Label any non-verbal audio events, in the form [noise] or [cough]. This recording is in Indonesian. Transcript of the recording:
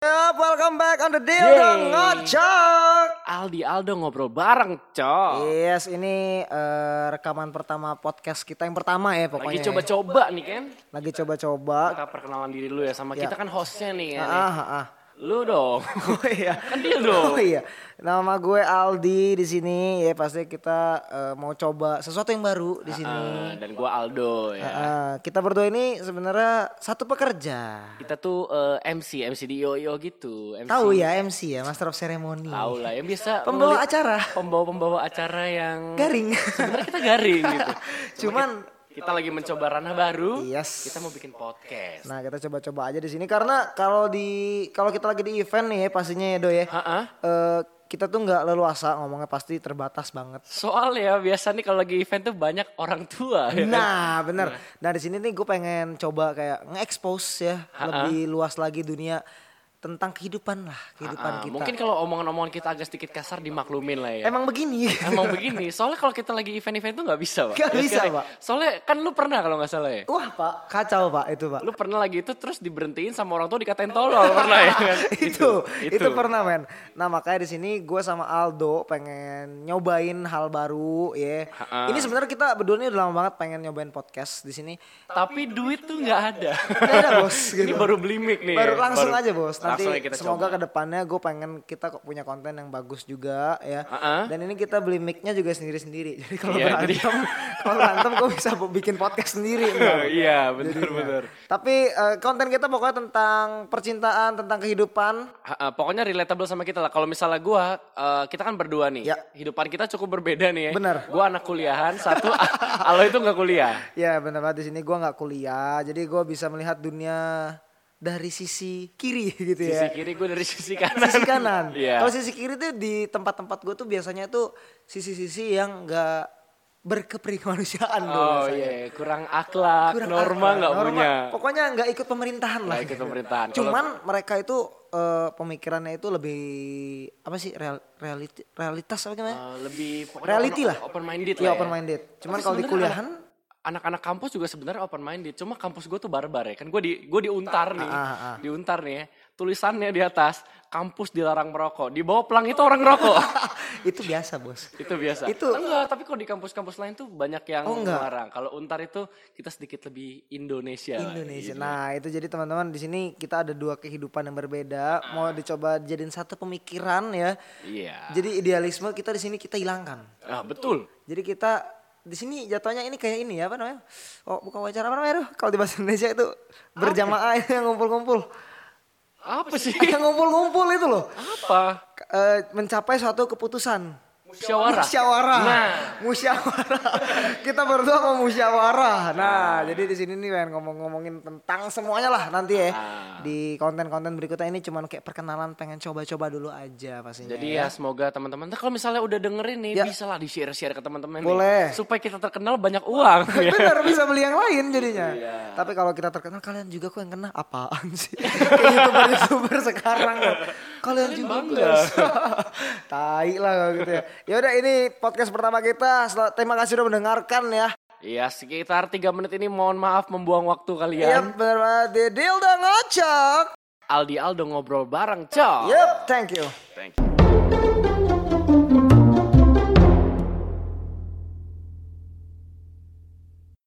Yup, welcome back on the deal dong Yeay. ngocok. Aldi Aldo ngobrol bareng, Cok. Yes, ini eh, rekaman pertama podcast kita yang pertama ya Lagi pokoknya. ya. coba-coba nih kan. Lagi coba-coba. Kita perkenalan diri dulu ya sama Ya. kita kan hostnya nih ya. Ah, nih. ah, ah. [laughs] Lu dong. Oh iya. Kan dia Oh dong. iya. Nama gue Aldi di sini. Ya pasti kita eh, mau coba sesuatu yang baru di sini. Eh, dan gua Aldo ya. Ah, kita berdua ini sebenarnya satu pekerja. Kita tuh eh, MC, MC di Yo-Yo gitu. MC. Tahu ya MC ya, Master of Ceremony. Tahu lah yang biasa Pembawa ngelit- acara. Pembawa-pembawa acara yang Garing. Sebenarnya kita [laughs] garing gitu. Cuma [laughs] Cuman kita, kita lagi mencoba ranah baru. Yes. Kita mau bikin podcast. Nah kita coba-coba aja di sini karena kalau di kalau kita lagi di event nih ya pastinya ya do ya. Ha-ha. Eh, kita tuh nggak leluasa ngomongnya pasti terbatas banget. Soalnya biasanya ya, kalau lagi event tuh banyak orang tua ya. Nah bener. Nah di sini nih gue pengen coba kayak nge-expose ya lebih luas lagi dunia tentang kehidupan lah kehidupan Ah, kita. Mungkin kalau omongan-omongan kita agak sedikit kasar dimaklumin lah ya. Emang begini. Emang begini, soalnya kalau kita lagi event-event tuh nggak bisa, Pak. Nggak Ya, bisa, sekarang. Pak. Soalnya kan lu pernah kalau nggak salah ya. [laughs] Wah pak kacau pak itu pak. Lu pernah lagi itu terus diberhentiin sama orang tua dikatain tolol pernah ya kan? [laughs] itu, itu pernah men. Nah makanya di sini gue sama Aldo pengen nyobain hal baru ya. Ha-ha. Ini sebenarnya kita berdua ini udah lama banget pengen nyobain podcast di [laughs] sini. Tapi duit tuh nggak ada. Nggak ada, bos, Ini gitu. baru beli mic nih. ya. Baru langsung Baru- aja bos. Nanti langsung aja kita semoga coba. kedepannya gue pengen kita kok punya konten yang bagus juga ya. Ha-ha. Dan ini kita beli mic-nya juga sendiri-sendiri. [laughs] Jadi kalau Iya, jadi- berantem, kalau berantem gue bisa bikin podcast sendiri. ntar. [laughs] Iya, Jadinya. benar-benar. Tapi eh, konten kita pokoknya tentang percintaan, tentang kehidupan. Ha, eh, pokoknya relatable sama kita lah. Kalau misalnya gua, eh, kita kan berdua nih. Ya. Hidupan kita cukup berbeda nih. ya. Bener. Gua anak kuliahan, satu [laughs] Alo itu nggak kuliah. Ya benar banget di sini gue nggak kuliah, jadi gue bisa melihat dunia dari sisi kiri [laughs] gitu Sisi ya. kiri gue dari sisi kanan. Sisi kanan. Iya. Kalau sisi kiri tuh di tempat-tempat gue tuh biasanya tuh sisi-sisi yang nggak berkeperimanusiaan tuh Oh biasanya. iya, kurang akhlak, Kurang norma akhlak, nggak norma. punya. Pokoknya nggak ikut pemerintahan lah. Nggak ikut pemerintahan. Kalau- Cuman mereka itu eh, pemikirannya itu lebih apa sih real, realiti- realitas apa gimana? Eh, lebih pokoknya Reality open- ya. lah. Open minded Iya, open minded. Cuman kalau di kuliahan anak-anak kampus juga sebenarnya open minded. Cuma kampus gue tuh barbar ya. Kan gue di gue diuntar nih, ah, ah. diuntar nih. ya. Tulisannya di atas kampus dilarang merokok. Di bawah pelang itu orang ngerokok. [laughs] itu biasa bos. itu biasa. Itu- enggak, tapi kalau di kampus-kampus lain tuh banyak yang Oh, enggak. melarang. Kalau untar itu kita sedikit lebih Indonesia. lah, Indonesia. gitu. Nah, itu jadi teman-teman di sini kita ada dua kehidupan yang berbeda, mau dicoba jadiin satu pemikiran ya. Iya. Jadi idealisme kita di sini kita hilangkan. Ah, betul. Jadi kita di sini jatuhnya ini kayak ini ya apa namanya? Oh, bukan wawancara apa namanya? Aduh, kalau di bahasa Indonesia itu berjamaah [laughs] yang ngumpul-ngumpul. Apa sih? [laughs] yang ngumpul-ngumpul itu loh. Apa? K- eh, mencapai suatu keputusan. Musyawarah. Musyawarah. Nah. Musyawarah. [laughs] Kita berdua mau musyawarah. Nah, jadi di sini nih pengen ngomong-ngomongin tentang semuanya lah nanti ya. Di konten-konten berikutnya ini cuman kayak perkenalan pengen coba-coba dulu aja pastinya. Jadi ya semoga teman-teman Ntar kalau misalnya udah dengerin nih Iya. Ya. bisa lah di share-share ke teman-teman nih. Boleh. Iya. supaya kita terkenal banyak uang. [laughs] ya. [laughs] Bener bisa beli yang lain jadinya. Tapi kalau kita terkenal kalian juga kok yang kena apaan sih? [laughs] Kayak YouTuber-YouTuber sekarang. Kan. Kalian juga guys. [laughs] Tai lah kalau gitu ya. Ya udah ini podcast pertama kita. Sel- Terima kasih udah mendengarkan ya. Iya sekitar 3 menit ini mohon maaf membuang waktu Yap, kalian. bener banget. Di uh, Dildo Ngocok. Aldi Aldo ngobrol bareng, Cok. Iya. Yep, thank you. Thank you.